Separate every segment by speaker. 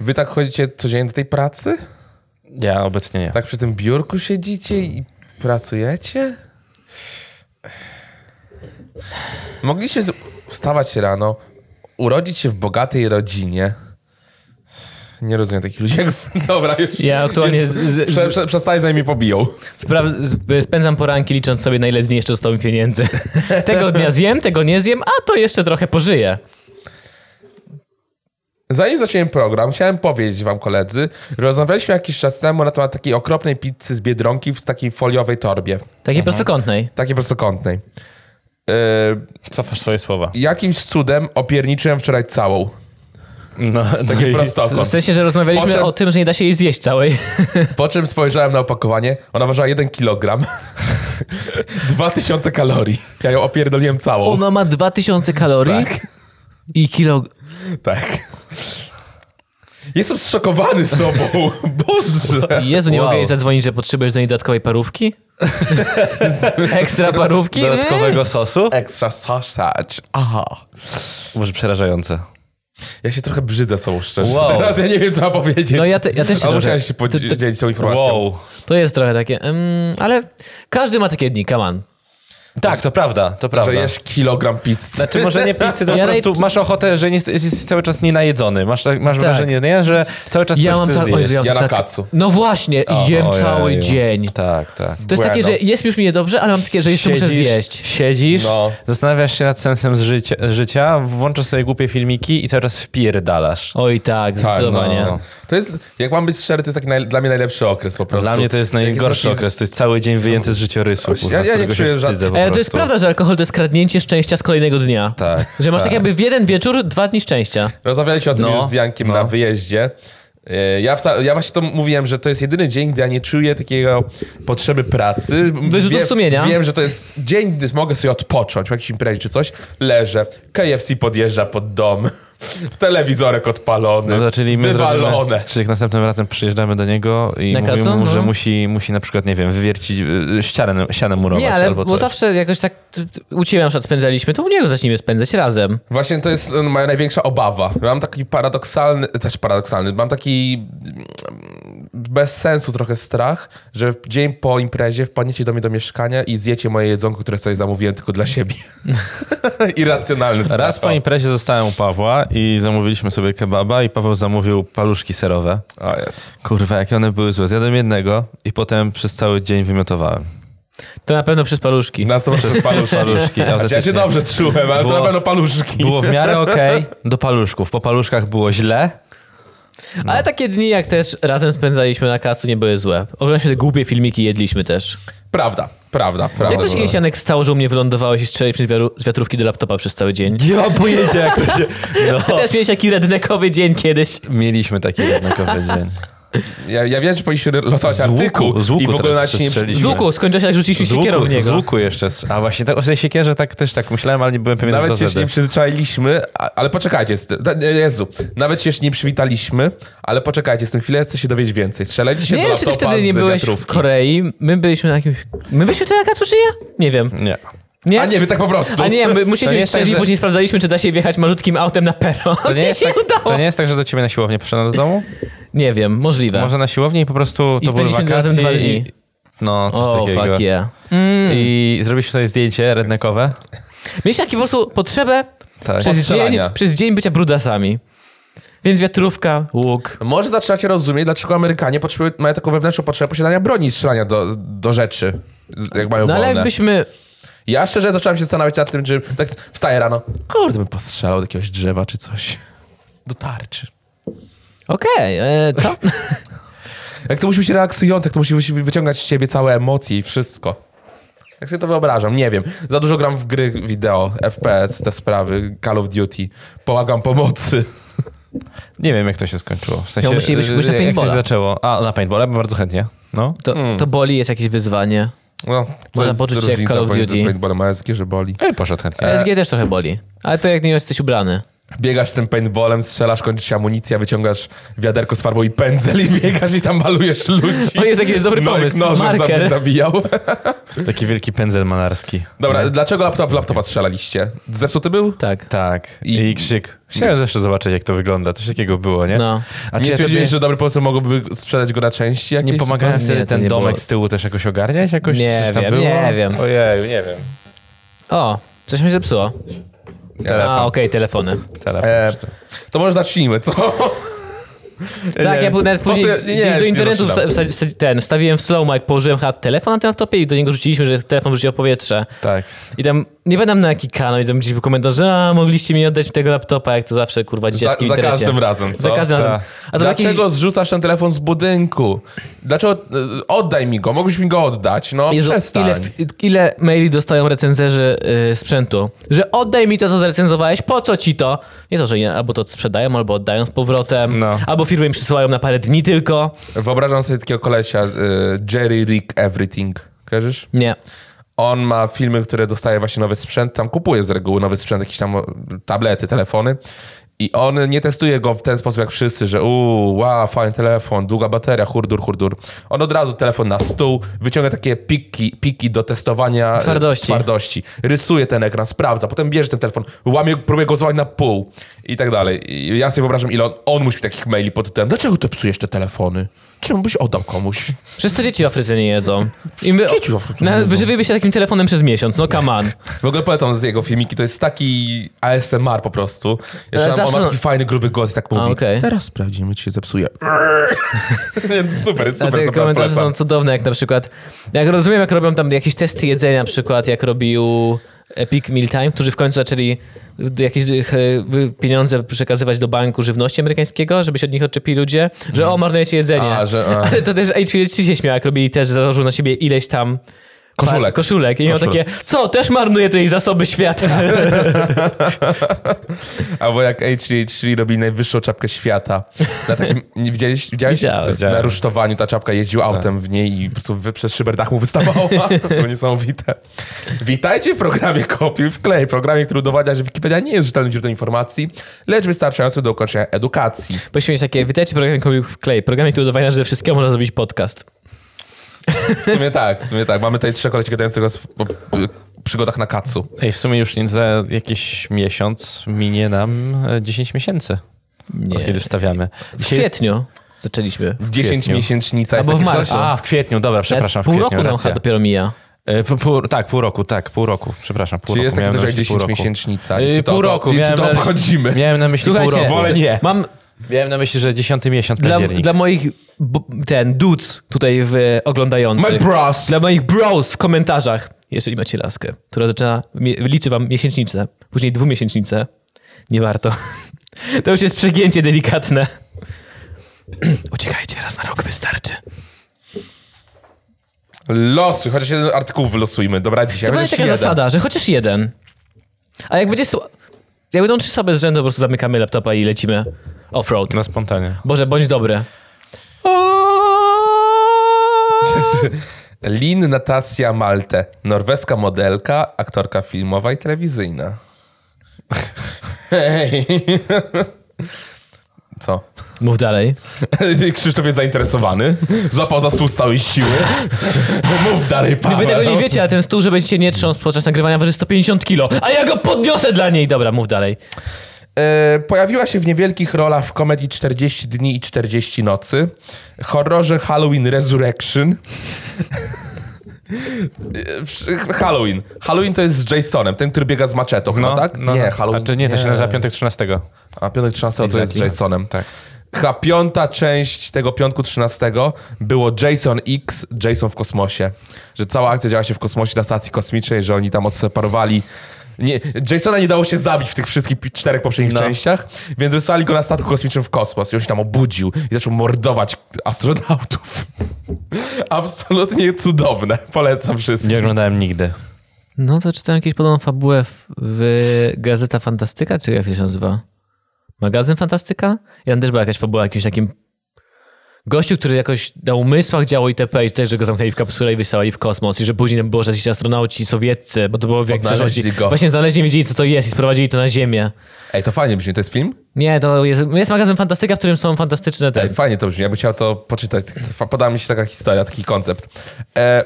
Speaker 1: Wy tak chodzicie codziennie do tej pracy?
Speaker 2: Ja obecnie nie.
Speaker 1: Tak przy tym biurku siedzicie i pracujecie? Mogliście z- wstawać rano, urodzić się w bogatej rodzinie. Nie rozumiem takich ludzi jak... Dobra, już.
Speaker 3: Ja aktualnie
Speaker 1: jest-
Speaker 3: z- z-
Speaker 1: prze, prze, przestań, zanim mnie pobiją.
Speaker 3: Spraw, z- spędzam poranki licząc sobie, na ile dni jeszcze zostało mi pieniędzy. tego dnia zjem, tego nie zjem, a to jeszcze trochę pożyję.
Speaker 1: Zanim zacząłem program, chciałem powiedzieć wam, koledzy, że rozmawialiśmy jakiś czas temu na temat takiej okropnej pizzy z Biedronki w takiej foliowej torbie,
Speaker 3: Takiej
Speaker 2: Mhm.
Speaker 3: prostokątnej.
Speaker 1: takiej prostokątnej.
Speaker 2: Cofasz swoje słowa.
Speaker 1: Yy, jakimś cudem opierniczyłem wczoraj całą.
Speaker 2: No,
Speaker 1: Taki
Speaker 3: W
Speaker 1: prostokąt.
Speaker 3: sensie, że rozmawialiśmy
Speaker 1: Potem-
Speaker 3: o tym, że nie da się jej zjeść całej.
Speaker 1: Po czym spojrzałem na opakowanie, ona ważyła 1 kg. 2000 kalorii. Ja ją opierdoliłem całą.
Speaker 3: Ona ma 2000 kalorii
Speaker 1: Tak,
Speaker 3: i kilo...
Speaker 1: tak. Jestem zszokowany sobą. Boże.
Speaker 3: Jezu, nie
Speaker 2: Wow.
Speaker 3: mogę jej zadzwonić, że potrzebujesz do niej dodatkowej parówki? Ekstra parówki? Mm.
Speaker 2: Dodatkowego sosu?
Speaker 1: Extra sausage. Aha.
Speaker 2: Może przerażające.
Speaker 1: Ja się trochę brzydzę sobą szczerze.
Speaker 2: Wow.
Speaker 1: Teraz ja nie wiem, co mam powiedzieć.
Speaker 3: No ja te- ja też się
Speaker 1: Ale
Speaker 3: trochę-
Speaker 1: musiałem się
Speaker 3: to- to-
Speaker 1: podzielić tą informacją.
Speaker 2: Wow.
Speaker 3: To jest trochę takie... mm, ale każdy ma takie dni, come on.
Speaker 2: Tak, to prawda, to prawda.
Speaker 1: Że jesz kilogram pizzy.
Speaker 2: Znaczy może nie pizzy, to
Speaker 3: Ja
Speaker 2: po prostu
Speaker 3: naj-
Speaker 2: masz ochotę, że nie, jesteś- jesteś cały czas nienajedzony. Masz, tak- masz
Speaker 3: Tak.
Speaker 2: wrażenie, nie? że cały czas
Speaker 3: Ja
Speaker 2: coś
Speaker 3: mam
Speaker 2: chcesz
Speaker 3: tak...
Speaker 2: zjeść.
Speaker 3: Jezu, mam
Speaker 1: Ja na
Speaker 3: tak-
Speaker 1: kacu.
Speaker 3: No właśnie, jem
Speaker 2: Ojej.
Speaker 3: cały dzień.
Speaker 2: Tak, tak.
Speaker 3: To jest takie,
Speaker 1: Bueno.
Speaker 3: że jest już mi niedobrze, ale mam takie, że jeszcze muszę zjeść.
Speaker 2: Siedzisz,
Speaker 1: No.
Speaker 2: zastanawiasz się nad sensem z życia, życia, włączasz sobie głupie filmiki i cały czas wpierdalasz.
Speaker 3: Oj tak, zdecydowanie.
Speaker 2: no.
Speaker 1: To jest, jak mam być szczery, to jest taki naj, dla mnie najlepszy okres po prostu.
Speaker 2: Dla mnie to jest
Speaker 1: Jak
Speaker 2: najgorszy
Speaker 1: taki-
Speaker 2: okres. To jest cały dzień wyjęty z życiorysu.
Speaker 1: Ja-
Speaker 2: kurwa,
Speaker 1: ja
Speaker 2: z
Speaker 1: nie
Speaker 2: którego
Speaker 1: czuję
Speaker 2: się
Speaker 1: żadnych-
Speaker 2: wstydzę po
Speaker 3: E, to jest
Speaker 2: prostu.
Speaker 3: prawda, że alkohol to jest kradnięcie szczęścia z kolejnego dnia.
Speaker 2: Tak,
Speaker 3: Że masz
Speaker 2: tak.
Speaker 3: tak jakby w jeden wieczór dwa dni szczęścia.
Speaker 1: Rozmawialiśmy o tym
Speaker 2: No,
Speaker 1: już z Jankiem na wyjeździe. E, Ja, wca- ja właśnie to mówiłem, że to jest jedyny dzień, gdy ja nie czuję takiego potrzeby pracy.
Speaker 3: Wyrzutów
Speaker 1: Wiem-
Speaker 3: sumienia.
Speaker 1: Wiem, że to jest dzień, gdy mogę sobie odpocząć w jakiejś imprezie czy coś. Leżę, KFC podjeżdża pod dom, telewizorek odpalony,
Speaker 2: No to czyli my zrobimy,
Speaker 1: wywalone.
Speaker 2: czyli następnym razem przyjeżdżamy do niego i
Speaker 3: Na
Speaker 2: mówimy
Speaker 3: kasę?
Speaker 2: mu, że
Speaker 3: No.
Speaker 2: musi, musi na przykład, nie wiem, wywiercić y, ścianę, ścianę murować
Speaker 3: Nie, ale
Speaker 2: albo
Speaker 3: bo
Speaker 2: coś.
Speaker 3: zawsze jakoś tak t- t- u ciebie na przykład spędzaliśmy, to u niego zaczniemy spędzać razem.
Speaker 1: Właśnie to jest e, moja największa obawa. Mam taki paradoksalny, też paradoksalny, mam taki mm, bez sensu trochę strach, że dzień po imprezie wpadniecie do mnie do mieszkania i zjecie moje jedzonko, które sobie zamówiłem tylko dla siebie. Irracjonalny strach.
Speaker 2: Raz po imprezie zostałem u Pawła i zamówiliśmy sobie kebaba i Paweł zamówił paluszki serowe.
Speaker 1: O, jest.
Speaker 2: Kurwa, jakie one były złe. Zjadłem jednego i potem przez cały dzień wymiotowałem.
Speaker 3: To na pewno przez
Speaker 2: No.
Speaker 3: paluszki.
Speaker 1: Na stronę przez paluszki.
Speaker 2: paluszki,
Speaker 1: Ja się
Speaker 2: autentycznie.
Speaker 1: dobrze czułem, ale to
Speaker 2: Było-
Speaker 1: na pewno paluszki.
Speaker 2: Było w miarę okej do paluszków. Po paluszkach było źle. No.
Speaker 3: Ale takie dni jak też razem spędzaliśmy na kacu nie były złe. Oglądaliśmy te głupie filmiki i jedliśmy też.
Speaker 1: Prawda, prawda, prawda.
Speaker 3: Jak
Speaker 2: no
Speaker 3: to się
Speaker 2: tak.
Speaker 3: kiedyś Janek stało, że u mnie wylądowałeś i strzeliłeś przez wiaru- z wiatrówki do laptopa przez cały dzień?
Speaker 2: Nie mam pojęcia jak to się... No.
Speaker 3: Też miałeś taki rednekowy dzień kiedyś.
Speaker 2: Mieliśmy taki jednakowy dzień.
Speaker 1: ja, ja wiem, że powinniśmy losować
Speaker 2: Z łuku,
Speaker 1: artykuł
Speaker 2: z łuku
Speaker 1: i w ogóle
Speaker 2: teraz
Speaker 1: na ci nie
Speaker 2: przestrzeliliśmy.
Speaker 3: Z łuku, skończyło się jak rzuciliśmy siekierą w
Speaker 2: z
Speaker 3: niego.
Speaker 2: łuku jeszcze. strz- A właśnie, tak, o tej siekierze tak, też tak myślałem, ale nie byłem pewien,
Speaker 1: Nawet
Speaker 2: że
Speaker 1: się
Speaker 2: to
Speaker 1: jeszcze nie
Speaker 2: ZD.
Speaker 1: przyzwyczailiśmy, a- ale poczekajcie. z tym- da- nie, Jezu, nawet się jeszcze nie przywitaliśmy, ale poczekajcie z tym chwilę, chcę się dowiedzieć więcej. Strzelę dzisiaj
Speaker 3: Nie
Speaker 1: do
Speaker 3: wiem, czy ty
Speaker 1: laptopa
Speaker 3: wtedy nie
Speaker 1: z
Speaker 3: byłeś w
Speaker 1: wiatrówki.
Speaker 3: Korei. My byliśmy na jakimś... My byliśmy wtedy na Katsu, czy ja? Nie wiem.
Speaker 2: Nie.
Speaker 3: Nie?
Speaker 1: A nie, wy tak po prostu.
Speaker 3: A nie, my
Speaker 2: To nie
Speaker 3: musieliśmy
Speaker 2: jest
Speaker 3: szczerze,
Speaker 2: tak, że-
Speaker 3: później sprawdzaliśmy, czy da się wjechać malutkim autem na peron.
Speaker 2: To nie, jest
Speaker 3: się
Speaker 2: tak,
Speaker 3: udało.
Speaker 2: to nie jest tak, że do ciebie na siłownię przyszedłem do domu?
Speaker 3: Nie wiem, możliwe.
Speaker 2: Może na siłownię i po prostu
Speaker 3: Tak. I
Speaker 2: to były
Speaker 3: spędziliśmy razem
Speaker 2: wakacje
Speaker 3: dwa
Speaker 2: i...
Speaker 3: dni.
Speaker 2: No, coś
Speaker 3: O,
Speaker 2: takiego.
Speaker 3: fuck yeah.
Speaker 2: I zrobiliśmy sobie zdjęcie redneckowe.
Speaker 3: Mieliśmy taki po prostu potrzebę
Speaker 2: Tak.
Speaker 3: przez dzień,
Speaker 1: Odstrzelania.
Speaker 3: przez dzień bycia brudasami. Więc wiatrówka, łuk.
Speaker 1: Może zaczynacie rozumieć, dlaczego Amerykanie potrzebują, mają taką wewnętrzną potrzebę posiadania broni i strzelania do, do rzeczy, z- jak mają
Speaker 3: No ale
Speaker 1: wolne.
Speaker 3: jakbyśmy...
Speaker 1: Ja szczerze zacząłem się zastanawiać nad tym, czy tak wstaję rano, kurde, bym postrzelał do jakiegoś drzewa czy coś. Do tarczy.
Speaker 3: Okej, e, to...
Speaker 1: Jak to musi być relaksujące, jak to musi wy- wyciągać z ciebie całe emocje i wszystko. Jak sobie to wyobrażam, nie wiem. Za dużo gram w gry wideo, FPS, te sprawy, Call of Duty. Pomagam pomocy.
Speaker 2: Nie wiem, jak to się skończyło. W sensie,
Speaker 3: Ja musielibyśmy pójść na
Speaker 2: y, jak to się
Speaker 3: paintballa.
Speaker 2: zaczęło. A, na paintballa, bardzo chętnie. No.
Speaker 3: To, to boli, jest jakieś wyzwanie.
Speaker 1: No, to
Speaker 3: Można
Speaker 1: jest
Speaker 3: poczuć się jak
Speaker 1: różnica
Speaker 3: Call of
Speaker 1: pomiędzy
Speaker 3: Duty.
Speaker 1: Paintballem a SG, że boli.
Speaker 2: Ej, poszedł chętnie.
Speaker 3: SG E też trochę boli. Ale to jak nie jesteś ubrany.
Speaker 1: Biegasz z tym paintballem, strzelasz, kończy się amunicja, wyciągasz wiaderko z farbą i pędzel i biegasz i tam malujesz ludzi.
Speaker 3: O Jezu, jaki jest dobry
Speaker 1: No, jak
Speaker 3: pomysł.
Speaker 1: Nożem
Speaker 3: Marker.
Speaker 1: zabi- zabijał.
Speaker 2: Taki wielki pędzel malarski.
Speaker 1: Dobra, dlaczego laptop w laptopa strzelaliście? Zepsuty był?
Speaker 3: Tak.
Speaker 2: Tak. I,
Speaker 1: I-
Speaker 2: krzyk. Chciałem zawsze zobaczyć, jak to wygląda. Coś takiego było, nie?
Speaker 3: No.
Speaker 2: A
Speaker 1: nie
Speaker 2: ja
Speaker 1: stwierdziłeś,
Speaker 2: tobie-
Speaker 1: że dobry pomysł mogłoby sprzedać go na części jakieś?
Speaker 2: Nie
Speaker 1: czy co?
Speaker 2: pomagałem
Speaker 3: Nie,
Speaker 2: wtedy
Speaker 3: to
Speaker 2: ten
Speaker 3: nie
Speaker 2: domek
Speaker 3: było.
Speaker 2: z tyłu też jakoś ogarniać? Jakoś
Speaker 3: Nie
Speaker 2: coś tam
Speaker 3: wiem,
Speaker 2: było?
Speaker 3: nie wiem.
Speaker 2: Ojej, nie wiem.
Speaker 3: O, coś mi zepsuło.
Speaker 2: Telefon.
Speaker 3: A, okej, telefony.
Speaker 2: Telefon.
Speaker 1: E,
Speaker 2: czy to-
Speaker 1: to może zacznijmy, co?
Speaker 3: Tak, ja
Speaker 1: wiem.
Speaker 3: był nawet
Speaker 1: Po co
Speaker 3: później
Speaker 1: ja- E, nie,
Speaker 3: gdzieś
Speaker 1: ja
Speaker 3: do
Speaker 1: już nie
Speaker 3: internetu
Speaker 1: zaczynam.
Speaker 3: wsta- wsta- wsta- ten, wstawiłem w slow mic, położyłem chyba telefon na tym laptopie i do niego rzuciliśmy, że telefon wrzucił w powietrze.
Speaker 2: Tak.
Speaker 3: I tam, nie pamiętam na jaki kanał, i tam gdzieś był komentarz, że a, mogliście mi oddać tego laptopa, jak to zawsze,
Speaker 1: Za,
Speaker 3: kurwa, dzieciaczki w
Speaker 1: za
Speaker 3: internecie.
Speaker 1: każdym razem, co?
Speaker 3: Za każdym razem.
Speaker 1: Tak.
Speaker 3: A to
Speaker 1: Dlaczego
Speaker 3: jakiś...
Speaker 1: zrzucasz ten telefon z budynku? Dlaczego? y, Oddaj mi go, mogłeś mi go oddać, no
Speaker 3: Jezu,
Speaker 1: przestań.
Speaker 3: ile, ile maili dostają recenzerzy y, sprzętu? Że oddaj mi to, co zrecenzowałeś, po co ci to? Nie to, że nie, albo to sprzedają, albo oddają z powrotem,
Speaker 2: No.
Speaker 3: albo firmy im przysyłają na parę dni tylko.
Speaker 1: Wyobrażam sobie takiego kolesia, y, Jerry Rick Everything, kojarzysz?
Speaker 3: Nie.
Speaker 1: On ma filmy, które dostaje właśnie nowy sprzęt, tam kupuje z reguły nowy sprzęt, jakieś tam o, tablety, telefony. I on nie testuje go w ten sposób jak wszyscy, że uuu, wow, fajny telefon, długa bateria, hurdur, hurdur. On od razu telefon na stół, wyciąga takie piki, piki do testowania e,
Speaker 3: Twardości.
Speaker 1: twardości. Rysuje ten ekran, sprawdza, potem bierze ten telefon, łamie, próbuje go złamać na pół i tak dalej. I ja sobie wyobrażam, ile on, on musi takich maili pod tytułem, dlaczego ty psujesz te telefony? Czemu byś oddał komuś?
Speaker 3: Wszyscy dzieci w Afryce nie jedzą. I my,
Speaker 1: Dzieci w Afryce nie
Speaker 3: na,
Speaker 1: jedzą.
Speaker 3: wyżywiłyby się takim telefonem przez miesiąc, no come on.
Speaker 1: W ogóle polecam z jego filmiki, to jest taki ASMR po prostu.
Speaker 3: Ale
Speaker 1: Jeszcze tam, on
Speaker 3: zawsze-
Speaker 1: ma taki fajny, gruby głos i tak mówi,
Speaker 3: A, okej.
Speaker 1: teraz sprawdzimy, czy się zepsuje. Więc super, jest
Speaker 3: A
Speaker 1: super,
Speaker 3: te
Speaker 1: super,
Speaker 3: komentarze są
Speaker 1: polecam.
Speaker 3: cudowne, jak na przykład, jak rozumiem, jak robią tam jakieś testy jedzenia, na przykład jak robił Epic Meal Time, którzy w końcu zaczęli jakieś e, pieniądze przekazywać do banku żywności amerykańskiego, żeby się od nich odczepili ludzie, że o, marnujecie jedzenie.
Speaker 1: Mhm. A, że, a.
Speaker 3: Ale to też H3 się śmiał, jak robili też, że założył na siebie ileś tam
Speaker 1: Koszulek.
Speaker 3: Pa, koszulek. I miał takie,
Speaker 1: Koszulek.
Speaker 3: co, też marnuje tej zasoby świata.
Speaker 1: Albo jak H3H3 robi najwyższą czapkę świata. Na takim, nie widziałeś? widziałeś?
Speaker 3: Widziałem, Tak.
Speaker 1: Na
Speaker 2: widziałem.
Speaker 1: rusztowaniu ta czapka jeździł autem w niej i po prostu wy- przez szyberdach mu wystawała. To było niesamowite. Witajcie w programie Kopiuj w klej. Programie, który udowadnia, że Wikipedia nie jest rzetelnym źródłem informacji, lecz wystarczający do ukończenia edukacji.
Speaker 3: Powinniśmy mieć takie, witajcie program Kobiet w klej, programie, który udowadnia, że ze wszystkiego można zrobić podcast.
Speaker 1: W sumie tak, w sumie tak. Mamy tutaj trzech koleci gadających o sw- o p- przygodach na kacu.
Speaker 2: Ej, w sumie już nie za jakiś miesiąc minie nam e, 10 miesięcy.
Speaker 3: Nie.
Speaker 2: Od kiedy wstawiamy.
Speaker 3: W
Speaker 2: Dzisiaj jest-
Speaker 3: kwietniu zaczęliśmy.
Speaker 1: 10
Speaker 2: kwietniu.
Speaker 1: miesięcznica jest
Speaker 3: Albo w
Speaker 1: takie
Speaker 3: marcu.
Speaker 1: coś?
Speaker 2: A, w kwietniu, dobra, przepraszam, w
Speaker 3: Pół
Speaker 2: kwietniu,
Speaker 3: roku nam
Speaker 2: racja.
Speaker 3: chyba dopiero mija.
Speaker 2: E, po- pół- tak, pół roku, tak, pół roku, przepraszam, pół
Speaker 1: Czy
Speaker 2: roku.
Speaker 1: jest tak takie
Speaker 2: miałem
Speaker 1: coś
Speaker 2: na
Speaker 1: jak
Speaker 2: myśli
Speaker 1: 10
Speaker 2: pół roku.
Speaker 1: miesięcznica?
Speaker 2: Yy,
Speaker 1: Czy to,
Speaker 2: pół
Speaker 1: to-
Speaker 2: roku,
Speaker 1: czy
Speaker 2: miałem
Speaker 1: to
Speaker 2: na-
Speaker 1: obchodzimy?
Speaker 2: Miałem na myśli pół
Speaker 3: Słuchajcie,
Speaker 2: roku.
Speaker 1: Wolę nie.
Speaker 3: mam
Speaker 2: Miałem na myśli, że 10 miesiąc
Speaker 3: dla,
Speaker 2: październik.
Speaker 3: dla moich b- ten dudes tutaj w, oglądających.
Speaker 1: My bros!
Speaker 3: Dla moich bros w komentarzach, jeżeli macie laskę, która zaczyna, mie- liczy wam miesięcznicę, później dwumiesięcznicę, nie warto. To już jest przegięcie delikatne. Uciekajcie, raz na rok wystarczy.
Speaker 1: Losuj, chociaż jeden artykuł wylosujmy. Dobra, dzisiaj.
Speaker 3: To będzie
Speaker 1: chociaż
Speaker 3: taka
Speaker 1: jeden.
Speaker 3: zasada, że chociaż jeden. A jak będzie... sła- Jak będą trzy słabe z rzędu, po prostu zamykamy laptopa i lecimy off-road.
Speaker 2: Na spontanie.
Speaker 3: Boże, bądź dobry.
Speaker 1: Lin Natasja Malte, norweska modelka, aktorka filmowa i telewizyjna. Hej. Co?
Speaker 3: Mów dalej.
Speaker 1: Krzysztof jest zainteresowany. Złapał za stół z całej siły. Mów dalej, Paweł.
Speaker 3: Wy tego nie wiecie, a ten stół, że będziecie nie trząsł podczas nagrywania waży 150 kilo, a ja go podniosę dla niej. Dobra, mów dalej.
Speaker 1: E, pojawiła się w niewielkich rolach w komedii 40 dni i 40 nocy, horrorze Halloween Resurrection. E, w- Halloween. Halloween to jest z Jasonem, ten, który biega z maczetą, no, chyba, tak? nie, Halloween.
Speaker 2: A czy Znaczy, nie, to się nazywa piątek 13.
Speaker 1: A piątek 13 to jest z
Speaker 2: Exactly.
Speaker 1: Jasonem.
Speaker 2: Tak.
Speaker 1: Chyba piąta część tego piątku 13 było Jason X, Jason w kosmosie. Że cała akcja działa się w kosmosie na stacji kosmicznej, że oni tam odseparowali. Nie, Jasona nie dało się zabić w tych wszystkich pi- czterech poprzednich
Speaker 2: No.
Speaker 1: częściach, więc wysłali go na statku kosmicznym w kosmos i on się tam obudził i zaczął mordować astronautów. Absolutnie cudowne. Polecam wszystkim.
Speaker 2: Nie oglądałem nigdy.
Speaker 3: No to czytałem jakieś podobną fabułę w, w Gazeta Fantastyka, czy jak to się nazywa? Magazyn Fantastyka? I tam też była jakaś fabuła o jakimś takim gościu, który jakoś na umysłach działał itp. i też, że go zamknęli w kapsule i wysyłali w kosmos i że później tam było, że ci astronauci sowieccy, bo to było w jak
Speaker 1: Odnaleźli
Speaker 3: przeszłości.
Speaker 1: go.
Speaker 3: Właśnie znaleźli, nie wiedzieli co to jest i sprowadzili to na ziemię.
Speaker 1: Ej, to fajnie brzmi, to jest film?
Speaker 3: Nie, to jest, jest magazyn Fantastyka, w którym są fantastyczne te...
Speaker 1: Ej, fajnie to brzmi, ja bym chciał to poczytać. Fa- Podoba mi się taka historia, taki koncept. E,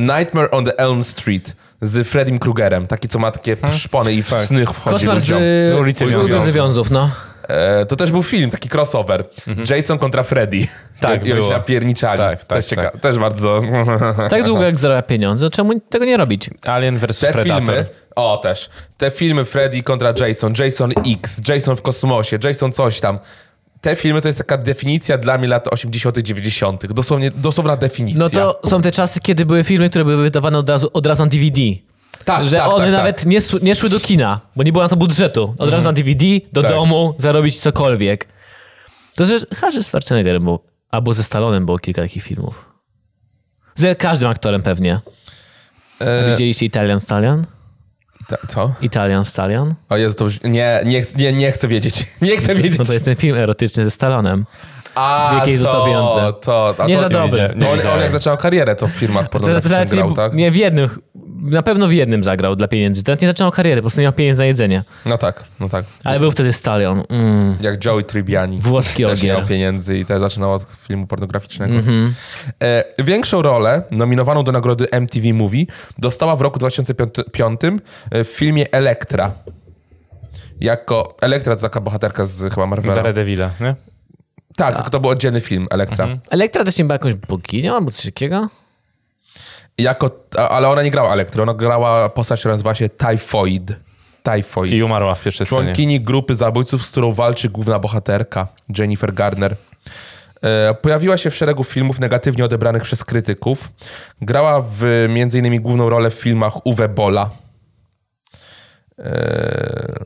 Speaker 1: Nightmare on the Elm Street z Freddym Krugerem. Taki, co ma takie szpony i w
Speaker 2: Tak.
Speaker 1: snych wchodzi
Speaker 3: Koszmar z y,
Speaker 1: ludziom.
Speaker 2: Z e, ulicy
Speaker 3: z
Speaker 1: Wiązów.
Speaker 3: ulicy Wiązów, no.
Speaker 1: E, to też był film, taki crossover. Jason kontra Freddy.
Speaker 2: Mhm. Tak,
Speaker 1: I oni się
Speaker 2: było.
Speaker 1: napierniczali.
Speaker 2: Tak, tak,
Speaker 1: też, cieka-
Speaker 2: tak.
Speaker 1: też bardzo...
Speaker 3: Tak długo jak zarabia pieniądze, czemu tego nie robić?
Speaker 2: Alien vs.
Speaker 1: Te
Speaker 2: Predator.
Speaker 1: filmy, o też, te filmy Freddy kontra Jason, Jason X, Jason w kosmosie, Jason coś tam. Te filmy to jest taka definicja dla mnie lat 80., 90. Dosłownie, dosłowna definicja.
Speaker 3: No to są te czasy, kiedy były filmy, które były wydawane od razu, od razu na DVD.
Speaker 1: tak,
Speaker 3: że
Speaker 1: tak,
Speaker 3: one
Speaker 1: tak,
Speaker 3: nawet
Speaker 1: Tak.
Speaker 3: Nie, szły, nie szły do kina, bo nie było na to budżetu. Od razu na DVD, do
Speaker 1: Tak.
Speaker 3: domu, zarobić cokolwiek. To że Harry Schwarzenegger był, albo ze Stallonem było kilka takich filmów. Z każdym aktorem pewnie.
Speaker 1: E,
Speaker 3: Widzieliście Italian Stallion?
Speaker 1: Ta, co?
Speaker 3: Italian Stallion?
Speaker 1: O Jezu, to już, nie, nie, chc- nie, nie chcę wiedzieć. Nie chcę wiedzieć.
Speaker 3: No to jest ten film erotyczny ze Stallonem.
Speaker 1: A,
Speaker 3: gdzie jakieś
Speaker 1: to,
Speaker 3: został pieniądze.
Speaker 1: to, a
Speaker 3: Nie
Speaker 1: to,
Speaker 3: za dobry.
Speaker 2: widziałem,
Speaker 1: To No, on, on
Speaker 2: widziałem.
Speaker 1: jak zaczynał karierę, to w firmach pornograficznych
Speaker 3: Nawet nie,
Speaker 1: grał, tak?
Speaker 3: nie, w jednym, na pewno w jednym zagrał dla pieniędzy. Ten nie zaczynał kariery, po prostu nie miał pieniędzy na jedzenie.
Speaker 1: No tak, no tak.
Speaker 3: Ale był wtedy Stallion. Mm.
Speaker 1: Jak Joey Tribbiani.
Speaker 3: Włoski
Speaker 1: Też nie miał
Speaker 3: ogier. Mhm.
Speaker 1: pieniędzy i też zaczynał od filmu pornograficznego. E, większą rolę, nominowaną do nagrody MTV Movie, dostała w roku 2005 e, w filmie Elektra. Jako... Elektra to taka bohaterka z chyba Marvela.
Speaker 2: Daredevila, nie?
Speaker 1: Tak, tylko to był oddzielny film, Elektra.
Speaker 3: Mhm. Elektra też nie była jakąś boginią albo coś takiego?
Speaker 1: Jako, a- ale ona nie grała Elektry, ona grała postać, która nazywa się Typhoid. Typhoid.
Speaker 2: I umarła w pierwszej scenie.
Speaker 1: Członkini grupy zabójców, z którą walczy główna bohaterka, Jennifer Garner. E, Pojawiła się w szeregu filmów negatywnie odebranych przez krytyków. Grała w m.in. główną rolę w filmach Uwe Bola. E,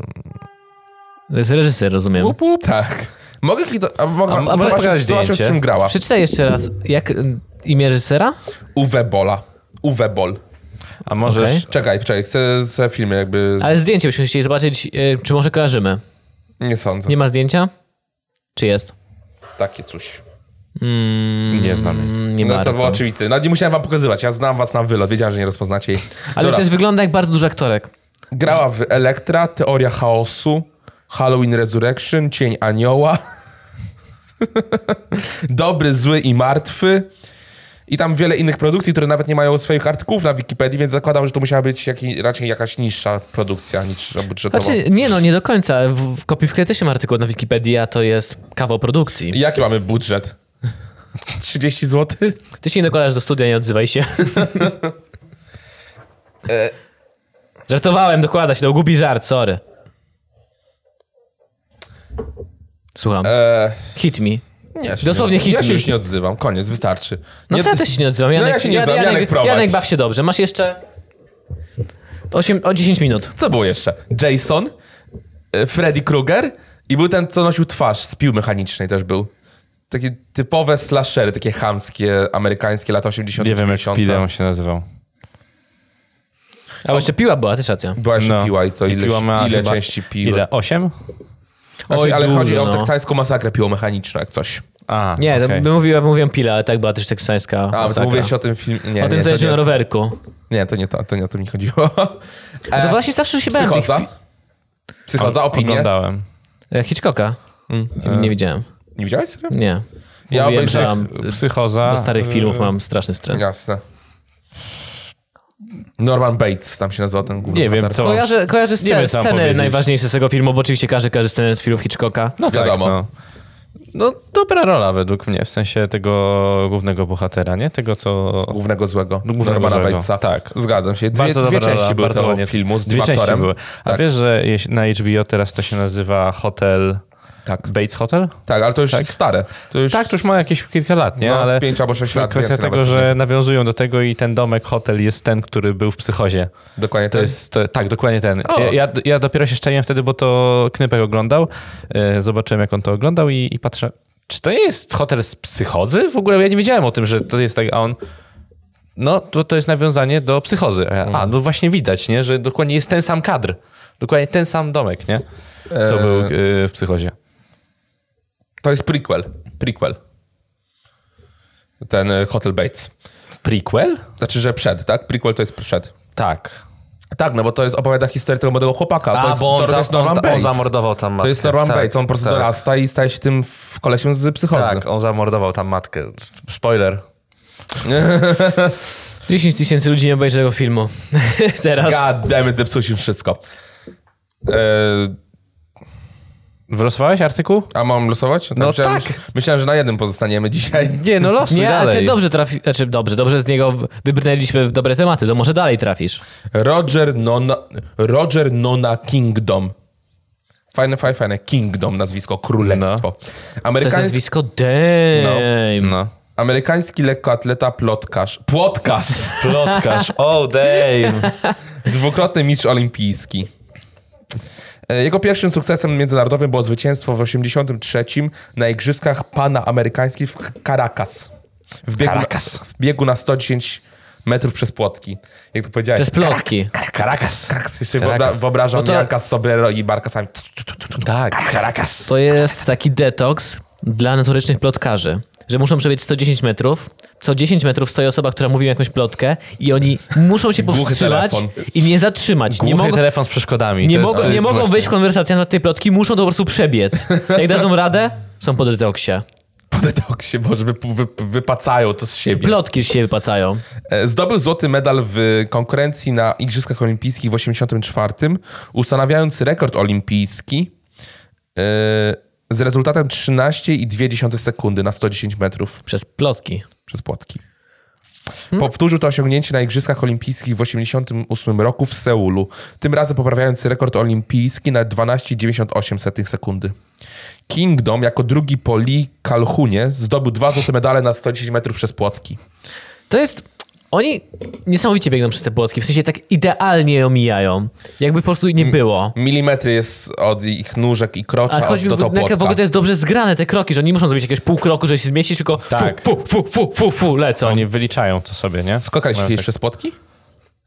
Speaker 3: To jest reżyser, rozumiem.
Speaker 1: Tak. Mogę kliknąć. A, mogę,
Speaker 2: A- a możesz
Speaker 1: zobaczyć,
Speaker 2: pokazać
Speaker 1: zobaczyć, w
Speaker 2: zdjęcie?
Speaker 1: czym grała.
Speaker 3: Przeczytaj jeszcze raz. Jak y, imię reżysera?
Speaker 1: Uwe Bola. Uwe Bol.
Speaker 2: A możesz...
Speaker 3: Okej.
Speaker 1: Czekaj, czekaj, chcę ze filmy jakby.
Speaker 3: Ale zdjęcie byśmy chcieli zobaczyć, y, czy może kojarzymy.
Speaker 1: Nie sądzę.
Speaker 3: Nie ma zdjęcia? Czy jest?
Speaker 1: Takie coś.
Speaker 2: Nie znam jej.
Speaker 3: Mm, Nie
Speaker 1: No, to
Speaker 3: bardzo.
Speaker 1: było oczywiste. No, nie musiałem wam pokazywać. Ja znam was na wylot. Wiedziałem, że nie rozpoznacie jej.
Speaker 3: Ale
Speaker 1: Dobra.
Speaker 3: też wygląda jak bardzo duży aktorek.
Speaker 1: Grała w Elektra, Teoria Chaosu, Halloween Resurrection, Cień Anioła, Dobry, Zły i Martwy. I tam wiele innych produkcji, które nawet nie mają swoich artykułów na Wikipedii, więc zakładam, że to musiała być jaki, raczej jakaś niższa produkcja niż budżetowa.
Speaker 3: Znaczy, nie no, nie do końca. W, w kopiwkę też mam artykuł na Wikipedii, a to jest kawał produkcji.
Speaker 1: Jaki mamy budżet? 30 zł?
Speaker 3: Ty się nie dokładasz do studia, nie odzywaj się.
Speaker 1: E.
Speaker 3: Żartowałem, dokłada się, to głupi żart, sorry. Słucham.
Speaker 1: Eee,
Speaker 3: Hit me. No
Speaker 1: nie, ja się
Speaker 3: Dosłownie
Speaker 1: nie, odzywam. Ja
Speaker 3: hit
Speaker 1: się
Speaker 3: me.
Speaker 1: już nie odzywam, koniec, wystarczy.
Speaker 3: No
Speaker 1: Nie-
Speaker 3: to ja też się nie odzywam.
Speaker 1: No
Speaker 3: Janek,
Speaker 1: ja się nie
Speaker 3: Ja-
Speaker 1: odzywam.
Speaker 3: Janek,
Speaker 1: Janek, prowadź.
Speaker 3: Janek, baw się dobrze. Masz jeszcze 8, o 10 minut.
Speaker 1: Co było jeszcze? Jason, e, Freddy Krueger i był ten, co nosił twarz z pił mechanicznej też był. Takie typowe slashery, takie chamskie, amerykańskie, lata 80
Speaker 2: Nie wiem, jak
Speaker 1: 90.
Speaker 2: Pideon się nazywał.
Speaker 3: A jeszcze piła była, też racja.
Speaker 1: Była jeszcze
Speaker 2: No.
Speaker 1: piła i to
Speaker 2: I
Speaker 1: ile,
Speaker 2: piła ma
Speaker 1: ile
Speaker 2: chyba-
Speaker 1: części piły.
Speaker 2: Ile? Osiem?
Speaker 1: Znaczy,
Speaker 3: Oj,
Speaker 1: ale
Speaker 3: dużo,
Speaker 1: chodzi o
Speaker 3: no.
Speaker 1: teksańską masakrę piłomechaniczną, jak coś.
Speaker 2: A,
Speaker 3: Nie, to
Speaker 2: okej.
Speaker 3: by mówiła, mówiłem pila, ale tak była też teksańska
Speaker 1: A, to
Speaker 3: masakra.
Speaker 1: mówię się o tym filmie. Nie,
Speaker 3: O tym,
Speaker 1: nie,
Speaker 3: co
Speaker 1: to
Speaker 3: jeździ na
Speaker 1: nie,
Speaker 3: rowerku. No
Speaker 1: nie, to nie to, to nie o to mi chodziło. E,
Speaker 3: To właśnie zawsze się bałem tych
Speaker 1: psychoza? Psychoza, opinie.
Speaker 2: Oglądałem.
Speaker 3: E, Hitchcocka. Nie, nie widziałem.
Speaker 1: Nie widziałeś? serio?
Speaker 3: Nie.
Speaker 1: Mm. E. Ja
Speaker 3: Mówiłem,
Speaker 1: obejrzę-
Speaker 3: że mam
Speaker 2: Psychoza.
Speaker 3: do starych
Speaker 2: y,
Speaker 3: filmów mam straszny wstręt.
Speaker 1: Jasne. Norman Bates, tam się nazywa ten główny
Speaker 2: Nie wiem,
Speaker 1: bohater.
Speaker 2: co-
Speaker 3: Kojarzę, kojarzę
Speaker 2: Nie
Speaker 3: scen,
Speaker 2: wiem, co mam
Speaker 3: sceny
Speaker 2: powiedzieć.
Speaker 3: najważniejsze z tego filmu, bo oczywiście każdy kojarzy scenę z filmów Hitchcocka.
Speaker 2: No tak,
Speaker 1: Wiadomo.
Speaker 2: no. No dobra rola według mnie, w sensie tego głównego bohatera, nie? Tego, co...
Speaker 1: głównego złego.
Speaker 2: Głównego
Speaker 1: Normana
Speaker 2: złego,
Speaker 1: Batesa.
Speaker 2: tak.
Speaker 1: Zgadzam się. Dwie,
Speaker 2: bardzo
Speaker 1: dwie
Speaker 2: dobra
Speaker 1: części
Speaker 2: rola,
Speaker 1: były
Speaker 2: bardzo
Speaker 1: tego
Speaker 2: ładnie.
Speaker 1: filmu z
Speaker 2: Dwie
Speaker 1: Dwatorem.
Speaker 2: części były. A
Speaker 1: Tak.
Speaker 2: wiesz, że jeś- na HBO teraz to się nazywa Hotel...
Speaker 1: Tak.
Speaker 2: Bates Hotel?
Speaker 1: Tak, ale to już stare. To już,
Speaker 2: Tak, to już ma jakieś kilka lat, nie?
Speaker 1: no,
Speaker 2: Ale
Speaker 1: z pięć albo sześć lat.
Speaker 2: kwestia
Speaker 1: Więcej
Speaker 2: tego,
Speaker 1: nawet.
Speaker 2: że nawiązują do tego i ten domek hotel jest ten, który był w psychozie.
Speaker 1: Dokładnie
Speaker 2: To jest, to, tak, dokładnie ten.
Speaker 1: E. O!
Speaker 2: Ja, ja, ja dopiero się szczeliłem wtedy, bo to Knypek oglądał. E, Zobaczyłem, jak on to oglądał i, i patrzę, czy to jest hotel z psychozy? W ogóle ja nie wiedziałem o tym, że to jest tak, a on... No, to, to jest nawiązanie do psychozy. A, ja,
Speaker 1: Mm.
Speaker 2: a, no właśnie widać, nie? Że dokładnie jest ten sam kadr. Dokładnie ten sam domek, nie? Co
Speaker 1: E,
Speaker 2: był e, w psychozie.
Speaker 1: To jest prequel. Prequel. Ten y, Hotel Bates.
Speaker 2: Prequel?
Speaker 1: Znaczy, że przed, tak? Prequel to jest przed.
Speaker 2: Tak.
Speaker 1: Tak, no bo to jest opowiada historię tego młodego chłopaka. to
Speaker 2: A,
Speaker 1: jest,
Speaker 2: bo on,
Speaker 1: to
Speaker 2: za,
Speaker 1: jest
Speaker 2: on,
Speaker 1: Norman
Speaker 2: ta- on
Speaker 1: Bates.
Speaker 2: zamordował tam matkę.
Speaker 1: to jest Norman
Speaker 2: tak,
Speaker 1: Bates. On po prostu
Speaker 2: tak,
Speaker 1: dorasta i staje się tym w- kolesiem z psychozy.
Speaker 2: Tak, on zamordował tam matkę. Spoiler.
Speaker 3: 10 tysięcy ludzi nie obejrzy tego filmu. Teraz.
Speaker 1: God damn it, zepsuliśmy wszystko. E,
Speaker 2: Wylosowałeś artykuł?
Speaker 1: a mam losować?
Speaker 2: No
Speaker 1: myślałem,
Speaker 2: tak.
Speaker 1: Że, myślałem, że na jednym pozostaniemy dzisiaj.
Speaker 2: Nie, no losuj
Speaker 3: Nie, ale
Speaker 2: dalej.
Speaker 3: ty dobrze trafi... Znaczy dobrze, dobrze z niego w- wybrnęliśmy w dobre tematy, to może dalej trafisz.
Speaker 1: Roger Nona, Roger Nona Kingdom. Fajne, fajne, fajne. Kingdom, nazwisko, królestwo.
Speaker 3: No. To jest
Speaker 1: Amerykański,
Speaker 3: nazwisko Dame.
Speaker 2: No.
Speaker 1: amerykański lekkoatleta, plotkarz. Płotkarz!
Speaker 2: Plotkarz. Oh, damn.
Speaker 1: Dwukrotny mistrz olimpijski. E, Jego pierwszym sukcesem międzynarodowym było zwycięstwo w 83 na Igrzyskach Panaamerykańskich w Caracas. W biegu,
Speaker 2: Caracas.
Speaker 1: Na, w biegu na 110 metrów przez płotki. Jak to powiedziałeś.
Speaker 3: Przez plotki.
Speaker 2: Caracas.
Speaker 1: Caracas. Jeszcze
Speaker 2: Caracas.
Speaker 1: Wyobrażam, wyobrażam
Speaker 3: Bo to-
Speaker 1: Janka z Sobrero i Barkasami. Tu, tu, tu, tu, tu.
Speaker 2: Tak. Caracas.
Speaker 3: To jest taki detoks dla notorycznych plotkarzy, że muszą przebiec 110 metrów. Co 10 metrów stoi osoba, która mówi im jakąś plotkę i oni muszą się
Speaker 1: Głuchy
Speaker 3: powstrzymać
Speaker 1: telefon.
Speaker 3: i nie zatrzymać.
Speaker 2: Nie
Speaker 3: Nie mogą,
Speaker 2: telefon z przeszkodami.
Speaker 3: nie
Speaker 2: To jest-
Speaker 3: mogą,
Speaker 2: to
Speaker 3: nie
Speaker 2: jest
Speaker 3: mogą
Speaker 2: właśnie-
Speaker 3: wyjść w konwersację na tej plotki, muszą to po prostu przebiec. Jak dadzą radę, są po detoksie.
Speaker 1: Po detoksie, Boże, wy, wy, wypacają to z siebie.
Speaker 3: Plotki się wypacają.
Speaker 1: E, Zdobył złoty medal w konkurencji na Igrzyskach Olimpijskich w 1984, ustanawiając rekord olimpijski e, z rezultatem 13,2 sekundy na 110 metrów
Speaker 3: Przez plotki.
Speaker 1: przez płotki. Powtórzył to osiągnięcie na Igrzyskach Olimpijskich w 1988 roku w Seulu, tym razem poprawiając rekord olimpijski na 12,98 sekundy. Kingdom jako drugi po Lee Calhounie zdobył dwa złote medale na 110 metrów przez płotki.
Speaker 3: To jest. Oni niesamowicie biegną przez te płotki, w sensie tak idealnie je omijają. Jakby po prostu nie było.
Speaker 1: Milimetry jest od ich nóżek i
Speaker 3: A
Speaker 1: krocza od,
Speaker 3: chodzi
Speaker 1: do
Speaker 3: w,
Speaker 1: do
Speaker 3: na, w
Speaker 1: płotka.
Speaker 3: ogóle to jest dobrze zgrane te kroki, że oni nie muszą zrobić jakiegoś pół kroku, żeby się zmieścić, tylko
Speaker 2: Tak.
Speaker 3: fu, fu, fu, fu, fu, fu, lecą.
Speaker 2: Oni wyliczają to sobie, nie?
Speaker 1: Skakaliście
Speaker 2: No,
Speaker 1: kiedyś
Speaker 2: tak.
Speaker 1: przez płotki?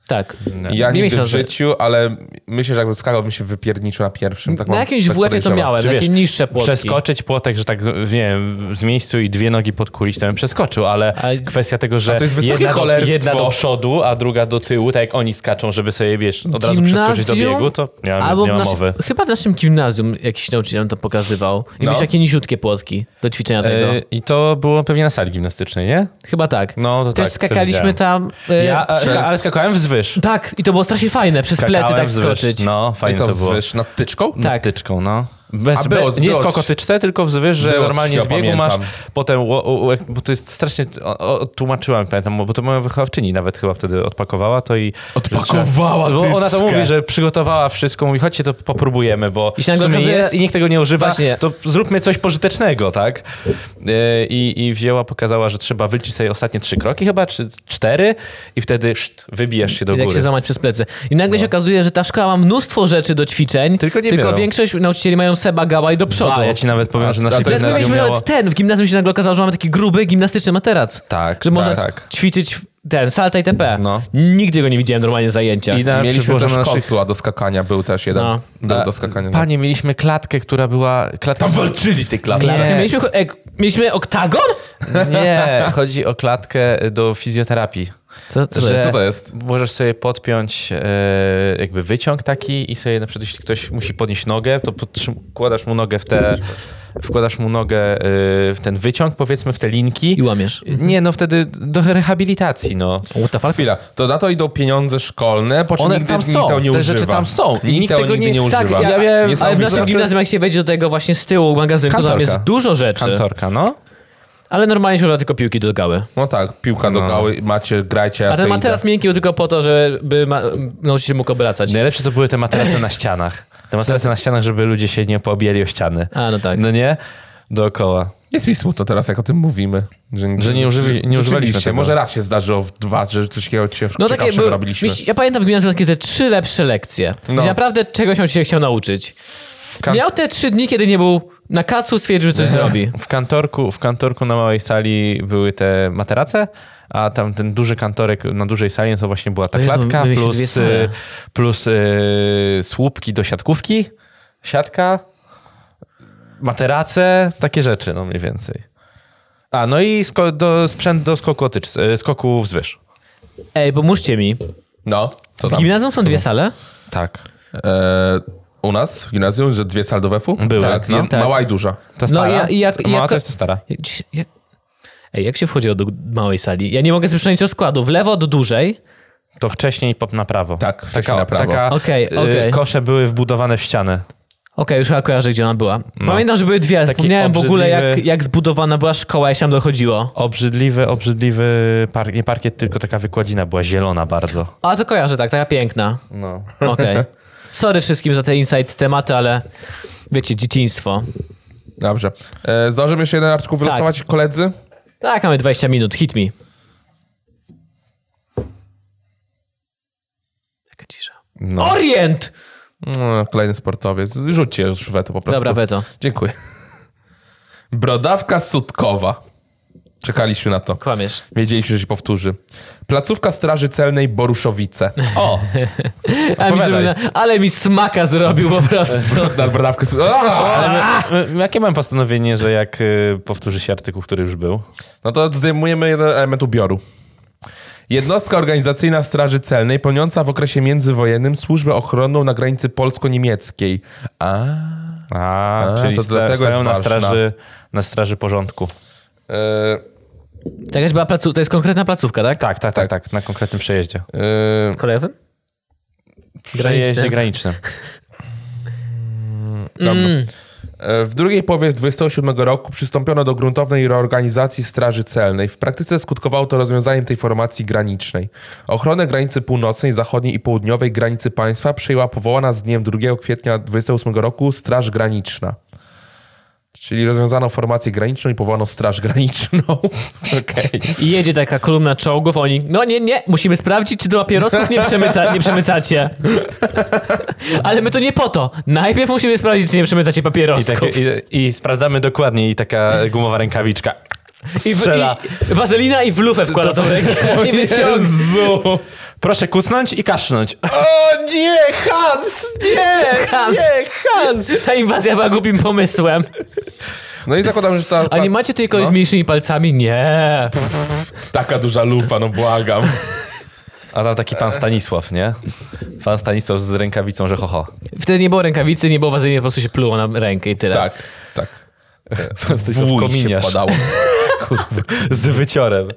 Speaker 3: Tak.
Speaker 1: Ja
Speaker 3: Nie
Speaker 1: nie nigdy
Speaker 3: myślę,
Speaker 1: w
Speaker 3: że-
Speaker 1: życiu, ale myślę, że jakbym skakał, bym się wypierniczył na pierwszym. Tak
Speaker 3: Na
Speaker 1: mam-
Speaker 3: jakimś
Speaker 1: tak
Speaker 3: WF-ie to
Speaker 1: podejrzewam.
Speaker 3: miałem,
Speaker 2: Czy
Speaker 3: takie
Speaker 2: wiesz,
Speaker 3: niższe płotki.
Speaker 2: Przeskoczyć płotek, że tak, nie wiem, z miejscu i dwie nogi podkulić, to bym przeskoczył, ale
Speaker 3: Ale-
Speaker 2: kwestia tego, że
Speaker 1: A to jest wysokie
Speaker 2: jedna, do,
Speaker 1: cholerstwo.
Speaker 2: jedna do przodu, a druga do tyłu, tak jak oni skaczą, żeby sobie, wiesz, od razu przeskoczyć do
Speaker 3: Gimnazjum?
Speaker 2: biegu, to nie,
Speaker 3: Albo
Speaker 2: mam-
Speaker 3: w
Speaker 2: nie ma
Speaker 3: naszym-
Speaker 2: mowy.
Speaker 3: Chyba w naszym gimnazjum jakiś nauczyciel nam to pokazywał. I
Speaker 1: No.
Speaker 3: no. takie niziutkie płotki do ćwiczenia tego.
Speaker 2: E, I to było pewnie na sali gimnastycznej, nie?
Speaker 3: Chyba tak.
Speaker 2: No, to
Speaker 3: Też
Speaker 2: tak, to
Speaker 3: skakaliśmy
Speaker 2: widziałem.
Speaker 3: tam. e,
Speaker 2: Ja, a, ska, ale skakałem wzwyż.
Speaker 3: Tak, i to było strasznie fajne, przez plecy
Speaker 2: Skakałem
Speaker 3: tak
Speaker 2: wzwyż.
Speaker 3: skoczyć.
Speaker 2: No, fajnie
Speaker 1: I to
Speaker 2: to, było.
Speaker 1: wzwyż nad tyczką?
Speaker 2: Tak. Tyczką, no. Bez,
Speaker 1: A było-
Speaker 2: be, nie
Speaker 1: było
Speaker 2: z
Speaker 1: coś.
Speaker 2: kokotyczce, tylko wzwyż, że
Speaker 1: Było
Speaker 2: normalnie
Speaker 1: coś,
Speaker 2: z biegu
Speaker 1: ja
Speaker 2: masz,
Speaker 1: pamiętam.
Speaker 2: potem, o, o, jak- bo to jest strasznie, o, o, tłumaczyłam, pamiętam, bo to moja wychowawczyni nawet chyba wtedy odpakowała to i...
Speaker 1: Odpakowała
Speaker 2: Bo ona to
Speaker 1: tyczkę.
Speaker 2: mówi, że przygotowała wszystko, mówi chodźcie to popróbujemy, bo
Speaker 3: I
Speaker 2: I
Speaker 3: się
Speaker 2: w
Speaker 3: nagle
Speaker 2: sumie
Speaker 3: okazuje-
Speaker 2: jest i nikt tego nie używa,
Speaker 3: Właśnie.
Speaker 2: to zróbmy coś pożytecznego, tak? Yy, I, I wzięła, pokazała, że trzeba wyliczyć sobie ostatnie trzy kroki chyba, czy cztery i wtedy szt, wybijesz tak się do
Speaker 3: Jak
Speaker 2: góry. No.
Speaker 3: się złamać przez plecy. I nagle się okazuje, że ta szkoła ma mnóstwo rzeczy do ćwiczeń,
Speaker 2: Tylko nie biorą.
Speaker 3: większość nauczycieli mają seba gała i do przodu.
Speaker 2: A ja ci nawet powiem, że
Speaker 1: A-
Speaker 2: nasze
Speaker 1: a to jest
Speaker 3: Teraz my
Speaker 2: gimnazjum
Speaker 3: mieliśmy
Speaker 2: miało...
Speaker 3: nawet ten, w gimnazjum się nagle okazało, że mamy taki gruby gimnastyczny materac.
Speaker 2: Tak,
Speaker 3: Że można
Speaker 2: tak.
Speaker 3: ćwiczyć w- ten, salta i tp.
Speaker 2: No.
Speaker 3: Nigdy go nie widziałem normalnie w zajęciach.
Speaker 2: I na-
Speaker 1: Mieliśmy
Speaker 2: Przyłożono
Speaker 1: też
Speaker 2: naszych-
Speaker 1: kosła do skakania, był też jeden.
Speaker 3: No.
Speaker 1: Był
Speaker 2: A,
Speaker 1: do skakania. no.
Speaker 2: Panie, mieliśmy klatkę, która była... Klatka...
Speaker 1: Tam walczyli w tej klatce.
Speaker 3: Klatki.
Speaker 2: Nie.
Speaker 3: Mieliśmy, cho- e, mieliśmy oktagon?
Speaker 2: Nie, chodzi o klatkę do fizjoterapii.
Speaker 3: Co, co to
Speaker 2: Że-
Speaker 3: jest?
Speaker 1: Co to jest?
Speaker 2: Możesz sobie podpiąć e, jakby wyciąg taki i sobie na przykład jeśli ktoś musi podnieść nogę, to podtrzym- wkładasz mu nogę w te... Wkładasz mu nogę e, w ten wyciąg, powiedzmy w te
Speaker 3: I
Speaker 2: linki.
Speaker 3: łamiesz.
Speaker 2: Nie, no wtedy do rehabilitacji, no.
Speaker 3: What the fuck?
Speaker 1: Chwila, to na to idą pieniądze szkolne, po czym
Speaker 2: One
Speaker 1: nigdy
Speaker 2: tam
Speaker 1: nikt
Speaker 2: są,
Speaker 1: tego nie
Speaker 2: te
Speaker 1: używa.
Speaker 2: rzeczy tam są i
Speaker 1: Nikt,
Speaker 2: nikt
Speaker 1: tego
Speaker 2: tego
Speaker 1: nigdy nie,
Speaker 2: nie- tak,
Speaker 1: używa.
Speaker 2: ja wiem,
Speaker 3: Ale w
Speaker 1: Niesamowite.
Speaker 3: naszym gimnazjum, jak się wejdzie do tego właśnie z tyłu magazynku, to tam
Speaker 2: Kantorka.
Speaker 3: jest dużo rzeczy.
Speaker 2: Kantorka, no.
Speaker 3: Ale normalnie się używa tylko piłki do gały.
Speaker 1: No tak, piłka do
Speaker 2: No.
Speaker 1: gały, macie, grajcie, ja
Speaker 3: A
Speaker 1: sobie
Speaker 3: ten
Speaker 1: idę.
Speaker 3: materac miękki był tylko po to, żeby ma- nauczyciel mógł obracać.
Speaker 2: Najlepsze to były te materace na ścianach. Te materace na ścianach, żeby ludzie się nie poobijali o ściany.
Speaker 3: A, no tak.
Speaker 2: No nie? Dookoła.
Speaker 1: Jest mi smutno teraz, jak o tym mówimy. Że,
Speaker 2: Że nie używi- nie
Speaker 1: rzeczywiście,
Speaker 2: używaliśmy tego.
Speaker 1: Może raz się zdarzyło w dwa, że coś takiego cię
Speaker 3: No
Speaker 1: no,
Speaker 3: takie
Speaker 1: ciekawszego
Speaker 3: były,
Speaker 1: robiliśmy.
Speaker 3: mi się- ja pamiętam w gimnazjum takie ze trzy lepsze lekcje,
Speaker 1: No.
Speaker 3: gdzie naprawdę czegoś on się chciał nauczyć.
Speaker 2: Kam-
Speaker 3: Miał te trzy dni, kiedy nie był na kacu, stwierdził, że coś zrobi.
Speaker 2: W kantorku, w kantorku na małej sali były te materace, a tam ten duży kantorek na dużej sali no to właśnie była ta
Speaker 3: O Jezu,
Speaker 2: klatka
Speaker 3: my mieliśmy dwie
Speaker 2: plus,
Speaker 3: sale.
Speaker 2: y, plus y, słupki do siatkówki, siatka, materace, takie rzeczy no mniej więcej. A, no i sko- do, sprzęt do skoku, otycz, y, skoku wzwyż.
Speaker 3: Ej, pomóżcie mi.
Speaker 1: No, co
Speaker 3: W
Speaker 1: tam?
Speaker 3: gimnazjum są dwie sale?
Speaker 2: Tak.
Speaker 1: E, u nas w gimnazjum, że dwie saldowefu?
Speaker 2: Były,
Speaker 1: tak,
Speaker 2: no.
Speaker 1: jed-
Speaker 2: Tak.
Speaker 1: Mała i duża.
Speaker 2: Ta
Speaker 3: No
Speaker 2: stara,
Speaker 3: i ja- i ja-
Speaker 2: mała
Speaker 3: jako-
Speaker 2: to jest ta stara.
Speaker 3: Jak dziś- jak- Ej, jak się wchodziło do małej sali? Ja nie mogę sobie przypomnieć rozkładu. W lewo do dużej.
Speaker 2: To wcześniej pop na prawo.
Speaker 1: Tak, wcześniej na prawo.
Speaker 2: Taka,
Speaker 3: Okej,
Speaker 2: y,
Speaker 3: okej.
Speaker 2: Kosze były wbudowane w ścianę.
Speaker 3: Okej, już chyba kojarzę, gdzie ona była. Pamiętam, że były dwie. ale
Speaker 2: No. Taki
Speaker 3: Zapomniałem w ogóle, jak,
Speaker 2: obrzydliwy-
Speaker 3: jak zbudowana była szkoła, jak się tam dochodziło.
Speaker 2: Obrzydliwy, obrzydliwy park, nie parkiet, tylko taka wykładzina była zielona bardzo.
Speaker 3: A to kojarzę, tak, taka piękna.
Speaker 2: No.
Speaker 3: Okej. Sorry wszystkim za te insight tematy, ale wiecie, dzieciństwo.
Speaker 1: Dobrze. E, zdążymy jeszcze jeden artykuł wylosować, koledzy?
Speaker 3: Tak, mamy 20 minut, hit me. Taka cisza.
Speaker 2: No.
Speaker 3: Orient!
Speaker 1: No, kolejny sportowiec. Rzućcie już weto po prostu.
Speaker 3: Dobra, weto.
Speaker 1: Dziękuję. Brodawka sutkowa. Czekaliśmy na to.
Speaker 3: Kłamiesz.
Speaker 1: Wiedzieliśmy, że się powtórzy. Placówka Straży Celnej Boruszowice. O!
Speaker 3: A mi zrobił- ale mi smaka zrobił po prostu.
Speaker 1: Na brodawkę... su- Aaa!
Speaker 2: M- Jakie mam postanowienie, że jak y, powtórzy się artykuł, który już był?
Speaker 1: No to zdejmujemy jeden element ubioru. Jednostka organizacyjna Straży Celnej pełniąca w okresie międzywojennym służbę ochronną na granicy polsko-niemieckiej. A,
Speaker 2: A,
Speaker 1: A,
Speaker 2: czyli
Speaker 1: to
Speaker 2: sta-
Speaker 1: dlatego
Speaker 2: stają
Speaker 1: jest
Speaker 2: na
Speaker 1: ważna.
Speaker 2: straży, na straży porządku.
Speaker 1: e,
Speaker 3: Tak, To jakaś była placówka, to jest konkretna placówka, tak?
Speaker 2: Tak, tak, tak, tak, na konkretnym przejeździe.
Speaker 1: e,
Speaker 3: Kolejowym?
Speaker 2: Przejeździe granicznym.
Speaker 1: dobra. E, W drugiej połowie 27 roku przystąpiono do gruntownej reorganizacji Straży Celnej. W praktyce skutkowało to rozwiązaniem tej formacji granicznej. Ochronę granicy północnej, zachodniej i południowej granicy państwa przejęła powołana z dniem 2 kwietnia 28 roku Straż Graniczna. Czyli rozwiązano formację graniczną i powołano Straż Graniczną. Okej.
Speaker 3: I jedzie taka kolumna czołgów, oni, no nie, nie, musimy sprawdzić, czy do papierosów nie, przemyta, nie przemycacie. Ale my to nie po to. Najpierw musimy sprawdzić, czy nie przemycacie
Speaker 2: I,
Speaker 3: papierosów.
Speaker 2: takie, i, I sprawdzamy dokładnie i taka gumowa rękawiczka
Speaker 3: I, w,
Speaker 2: strzela.
Speaker 3: i wazelina i w lufę wkłada to w rękę. I wyciąga.
Speaker 1: Jezu!
Speaker 2: Proszę kucnąć i kasznąć.
Speaker 1: O nie, Hans! Nie!
Speaker 3: Hans.
Speaker 1: Nie, Hans!
Speaker 3: Ta inwazja była głupim pomysłem.
Speaker 1: No i zakładam, że ta...
Speaker 3: A nie macie tylko z mniejszymi palcami? Nie.
Speaker 1: Taka duża lupa, no błagam.
Speaker 2: A tam taki pan Stanisław, nie? Pan Stanisław z rękawicą, że ho, ho.
Speaker 3: Wtedy nie było rękawicy, nie było wazeliny, po prostu się pluło na rękę i tyle.
Speaker 1: Tak, tak.
Speaker 2: Pan
Speaker 1: Wuj
Speaker 2: Stanisław kominiarz
Speaker 1: wpadało.
Speaker 2: z wyciorem.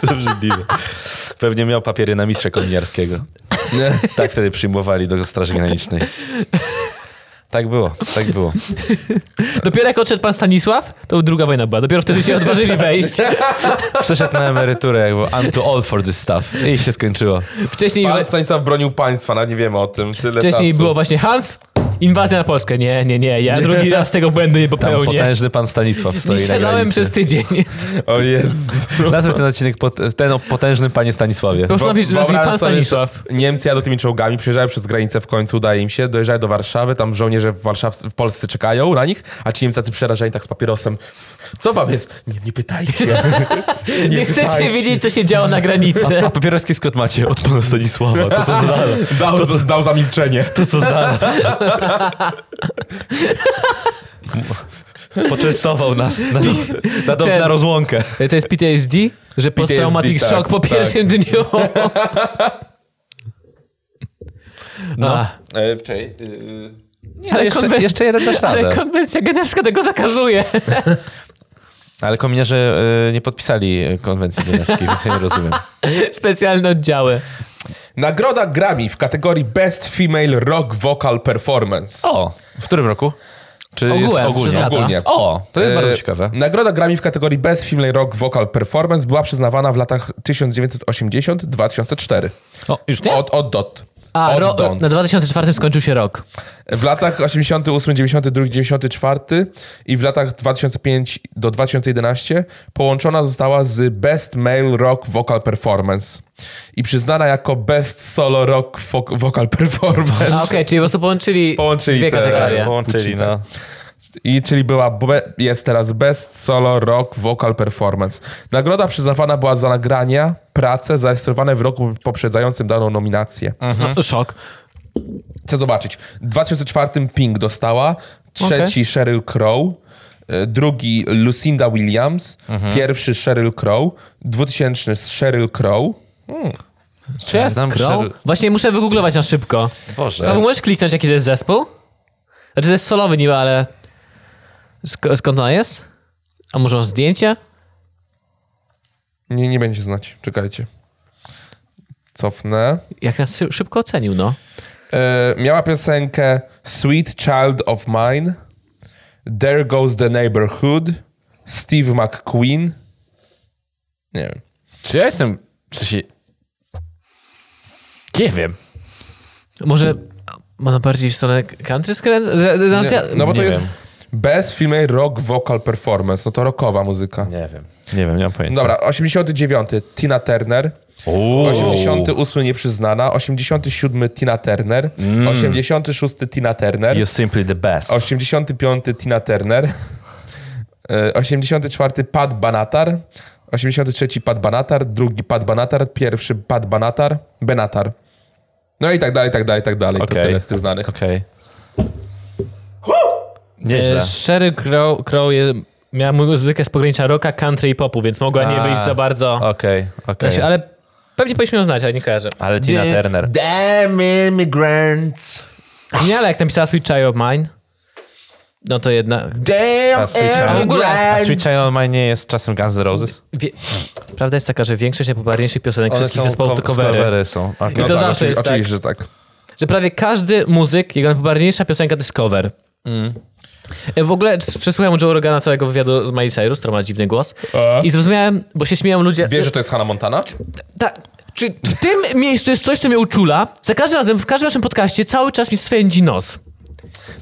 Speaker 2: Co obrzydliwe. Pewnie miał papiery na mistrza kominiarskiego.
Speaker 1: Nie.
Speaker 2: Tak wtedy przyjmowali do Straży Granicznej. Tak było, tak było.
Speaker 3: Dopiero jak odszedł pan Stanisław, to druga wojna była. Dopiero wtedy się odważyli wejść.
Speaker 2: Przeszedł na emeryturę, jak było I'm too old for this stuff. I się skończyło.
Speaker 3: Wcześniej,
Speaker 1: Pan Stanisław bronił państwa, nawet nie wiemy o tym. Tyle
Speaker 3: wcześniej
Speaker 1: czasu.
Speaker 3: było właśnie Hans, inwazja na Polskę. Nie, nie, nie, ja drugi raz tego błędu nie
Speaker 2: Tam
Speaker 3: popełnię.
Speaker 2: potężny pan Stanisław
Speaker 3: Nie
Speaker 2: stoi na
Speaker 3: siadałem
Speaker 2: granicy.
Speaker 3: przez tydzień.
Speaker 1: O Jezu.
Speaker 2: Nazwę ten odcinek pot- ten o potężnym panie Stanisławie.
Speaker 3: Po prostu napisz,
Speaker 1: Wyobrażam
Speaker 3: nazwij pan
Speaker 1: sobie,
Speaker 3: Stanisław.
Speaker 1: że Niemcy jadą tymi czołgami, przejeżdżają przez granicę, w końcu udaje im się, dojeżdżają do Warszawy, tam żołnierze w, Warszaw w Polsce czekają na nich, a ci Niemcy tacy przerażeni tak z papierosem. Co wam jest? Nie, nie pytajcie.
Speaker 3: Nie, chcecie
Speaker 1: pytajcie.
Speaker 3: wiedzieć, co się działo na granicy.
Speaker 2: A papieroski skąd macie? Od pana Stanisława. To co znalazł.
Speaker 1: Dał, dał za milczenie.
Speaker 2: To co znalazł. Poczęstował nas na, na, do-
Speaker 3: Ten-
Speaker 2: na rozłąkę.
Speaker 3: To jest PTSD, że posttraumatic
Speaker 1: tak,
Speaker 3: shock po
Speaker 1: tak.
Speaker 3: pierwszym dniu. No.
Speaker 2: E, czekaj,
Speaker 3: ale
Speaker 2: jeszcze-
Speaker 3: konwen-
Speaker 2: jeszcze jeden dasz radę.
Speaker 3: Ale konwencja genewska tego zakazuje.
Speaker 2: Ale kominiarze e, nie podpisali e, konwencji genewskiej, więc ja nie rozumiem.
Speaker 3: Specjalne oddziały.
Speaker 1: Nagroda Grammy w kategorii Best Female Rock Vocal Performance.
Speaker 2: O, w którym roku? Czy
Speaker 3: Ogółem,
Speaker 2: jest
Speaker 3: przez
Speaker 2: ogólnie?
Speaker 3: lata.
Speaker 1: Ogólnie.
Speaker 2: O, to jest
Speaker 1: E,
Speaker 2: bardzo ciekawe.
Speaker 1: Nagroda Grammy w kategorii Best Female Rock Vocal Performance była przyznawana w latach 1980-2004.
Speaker 3: O, już
Speaker 1: Od, od dot.
Speaker 3: A,
Speaker 1: od
Speaker 3: ro,
Speaker 1: dot.
Speaker 3: na 2004 skończył się rok.
Speaker 1: W latach 88, 92, 94 i w latach 2005 do 2011 połączona została z Best Male Rock Vocal Performance i przyznana jako Best Solo Rock Fo- Vocal Performance.
Speaker 3: A okej, czyli po prostu połączyli,
Speaker 1: Połączyli
Speaker 3: dwie
Speaker 1: te-
Speaker 3: kategorie.
Speaker 2: Połączyli, no.
Speaker 1: I czyli była, be, jest teraz Best Solo Rock Vocal Performance. Nagroda przyznawana była za nagrania, prace zarejestrowane w roku poprzedzającym daną nominację.
Speaker 3: No, szok.
Speaker 1: Chcę zobaczyć. W 2004 Pink dostała, trzeci Sheryl Crow, y, drugi Lucinda Williams, pierwszy Sheryl Crow, 2000 Sheryl Crow.
Speaker 2: Czy ja znam Tak.
Speaker 3: Crow?
Speaker 2: Krzysztof-
Speaker 3: Właśnie muszę wygooglować na szybko.
Speaker 2: Boże.
Speaker 3: No, Albo możesz kliknąć, jaki to jest zespół? Znaczy to jest solowy niby, ale... Sk- skąd ona jest? A może masz zdjęcie?
Speaker 1: Nie, nie będzie znać, czekajcie. Cofnę.
Speaker 3: Jak nas szy- szybko ocenił, no.
Speaker 1: E, miała piosenkę Sweet Child of Mine, There Goes the Neighborhood, Steve McQueen. Nie wiem.
Speaker 2: Czy ja jestem... W sensie... Nie wiem.
Speaker 3: Może ona bardziej w stronę country skręca?
Speaker 1: Nie, no bo to
Speaker 2: nie
Speaker 1: jest
Speaker 2: wiem.
Speaker 1: Best Female Rock Vocal Performance, no to rockowa muzyka.
Speaker 2: Nie wiem. Nie wiem, nie mam pojęcia.
Speaker 1: Dobra, 89. Tina Turner.
Speaker 2: Uuu.
Speaker 1: 88 nieprzyznana, 87 Tina Turner,
Speaker 2: Mm.
Speaker 1: 86 Tina Turner,
Speaker 2: You're simply the best.
Speaker 1: 85 Tina Turner, e, 84 Pat Banatar, 83 Pat Banatar, drugi Pat Banatar, pierwszy Pat Banatar, Benatar. No i tak dalej, tak dalej, tak dalej. To
Speaker 2: Okej.
Speaker 1: tyle z tych znanych.
Speaker 2: Okej. Nieźle.
Speaker 3: e, Sherry Crow, Crow je, miała muzykę z pogranicza rocka, country i popu, więc mogła nie
Speaker 2: A,
Speaker 3: wyjść za bardzo.
Speaker 2: Okej, okej.
Speaker 3: Znaczy, Ale pewnie powinniśmy ją znać, ale nie kojarzę.
Speaker 2: Ale Tina Turner.
Speaker 1: Damn immigrants.
Speaker 3: Nie, ale jak tam pisała Sweet Child of Mine, no to jednak...
Speaker 1: Damn
Speaker 3: Ale w ogóle-
Speaker 2: A Sweet Child On Mine nie jest czasem Guns N' Roses?
Speaker 3: Wie, prawda jest taka, że większość najpopularniejszych piosenek wszystkich
Speaker 2: są
Speaker 3: zespołów to
Speaker 2: ko-
Speaker 3: covery.
Speaker 2: covery są.
Speaker 3: I to
Speaker 2: Okay.
Speaker 3: zawsze
Speaker 1: oczywiście,
Speaker 3: jest tak.
Speaker 1: No oczywiście, że tak.
Speaker 3: Że prawie każdy muzyk, jego najpopularniejsza piosenka to jest cover. E, W ogóle s- przesłuchałem Joe Rogana całego wywiadu z Miley Cyrus, która ma dziwny głos. I zrozumiałem, bo się śmieją ludzie...
Speaker 1: Wiesz, że to jest Hannah Montana?
Speaker 3: Tak. Czy w tym miejscu jest coś, co mnie uczula? Za każdym razem, w każdym naszym podcaście cały czas mi swędzi nos.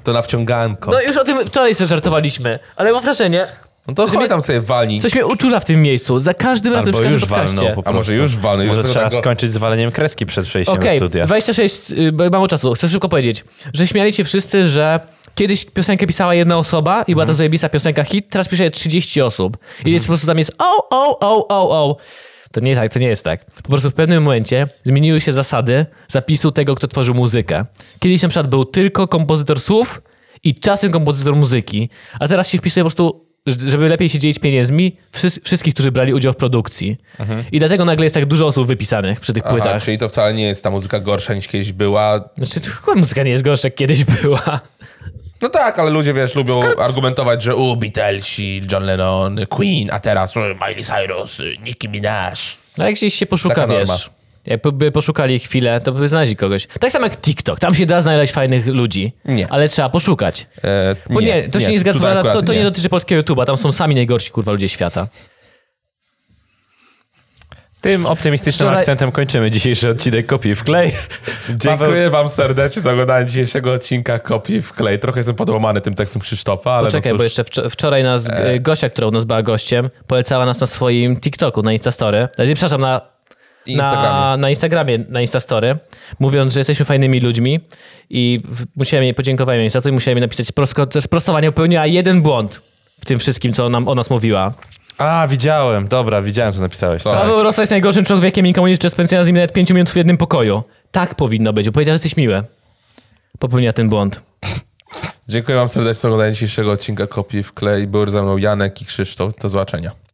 Speaker 1: To na wciąganko.
Speaker 3: No już o tym wczoraj sobie żartowaliśmy, ale mam wrażenie,
Speaker 1: No to chodź tam sobie walni.
Speaker 3: coś mnie uczula w tym miejscu. Za każdym razem,
Speaker 2: Albo
Speaker 3: w każdym
Speaker 2: już
Speaker 3: podcaście.
Speaker 2: walną po
Speaker 3: Okej,
Speaker 1: A może
Speaker 2: prostu.
Speaker 1: już walnę,
Speaker 2: Może
Speaker 1: już
Speaker 2: trzeba
Speaker 1: tego-
Speaker 2: skończyć z waleniem kreski przed przejściem do studia.
Speaker 3: 26, y, bo mało czasu, chcę szybko powiedzieć, że śmiali się wszyscy, że kiedyś piosenkę pisała jedna osoba i była ta zajebista piosenka hit, teraz pisze je 30 osób. I jest po prostu tam jest o, o, o, o, o. To nie tak, to nie jest tak. Po prostu w pewnym momencie zmieniły się zasady zapisu tego, kto tworzył muzykę. Kiedyś na przykład był tylko kompozytor słów i czasem kompozytor muzyki, a teraz się wpisuje po prostu, ż- żeby lepiej się dzielić pieniędzmi, wszys- wszystkich, którzy brali udział w produkcji. I dlatego nagle jest tak dużo osób wypisanych przy tych
Speaker 1: Aha,
Speaker 3: płytach.
Speaker 1: czyli to wcale nie jest ta muzyka gorsza niż kiedyś była.
Speaker 3: Znaczy, to chyba muzyka nie jest gorsza, jak kiedyś była.
Speaker 1: No tak, ale ludzie, wiesz, lubią argumentować, że u, Beatlesi, John Lennon, Queen, a teraz u, Miley Cyrus, y, Nicki Minaj.
Speaker 3: No jak gdzieś się poszuka,
Speaker 1: Taka norma.
Speaker 3: wiesz. Jakby poszukali chwilę, to by znaleźli kogoś. Tak samo jak TikTok. Tam się da znaleźć fajnych ludzi.
Speaker 1: Nie.
Speaker 3: Ale trzeba poszukać.
Speaker 1: E,
Speaker 3: Bo nie, to się nie zgadza.
Speaker 1: tutaj
Speaker 3: To,
Speaker 1: akurat
Speaker 3: to nie, dotyczy polskiego YouTube'a. Tam są sami najgorsi, kurwa, ludzie świata.
Speaker 2: Tym optymistycznym
Speaker 3: Wczoraj-
Speaker 2: akcentem kończymy dzisiejszy odcinek Kopii w klej.
Speaker 1: Dziękuję wam serdecznie za oglądanie dzisiejsiego odcinka Kopii w klej. Trochę jestem podłamany tym tekstem Krzysztofa, ale
Speaker 3: Poczekaj,
Speaker 1: no cóż.
Speaker 3: bo jeszcze wczo- wczoraj nas e... Gosia, która u nas była gościem, polecała nas na swoim TikToku, na Instastory. Znaczy, Przepraszam, na
Speaker 1: Instagramie.
Speaker 3: Na, na Instagramie, na Instastory, mówiąc, że jesteśmy fajnymi ludźmi i w- musiałem jej, podziękowałem jej za to i musiałem jej napisać prosko, sprostowanie, popełniła jeden błąd w tym wszystkim, co nam, o nas mówiła.
Speaker 2: A, widziałem. Dobra, widziałem, co napisałeś.
Speaker 1: Co?
Speaker 2: Tak.
Speaker 3: Paweł Rosa jest najgorszym człowiekiem i nikomu nie życzę spędzenia z nim nawet 5 minut w jednym pokoju. Tak powinno być, bo powiedziała, że jesteś miły. Popełniła ten błąd.
Speaker 1: Dziękuję wam serdecznie za oglądanie dzisiejszego odcinka Kopii w klej. Był ze mną Janek i Krzysztof. Do zobaczenia.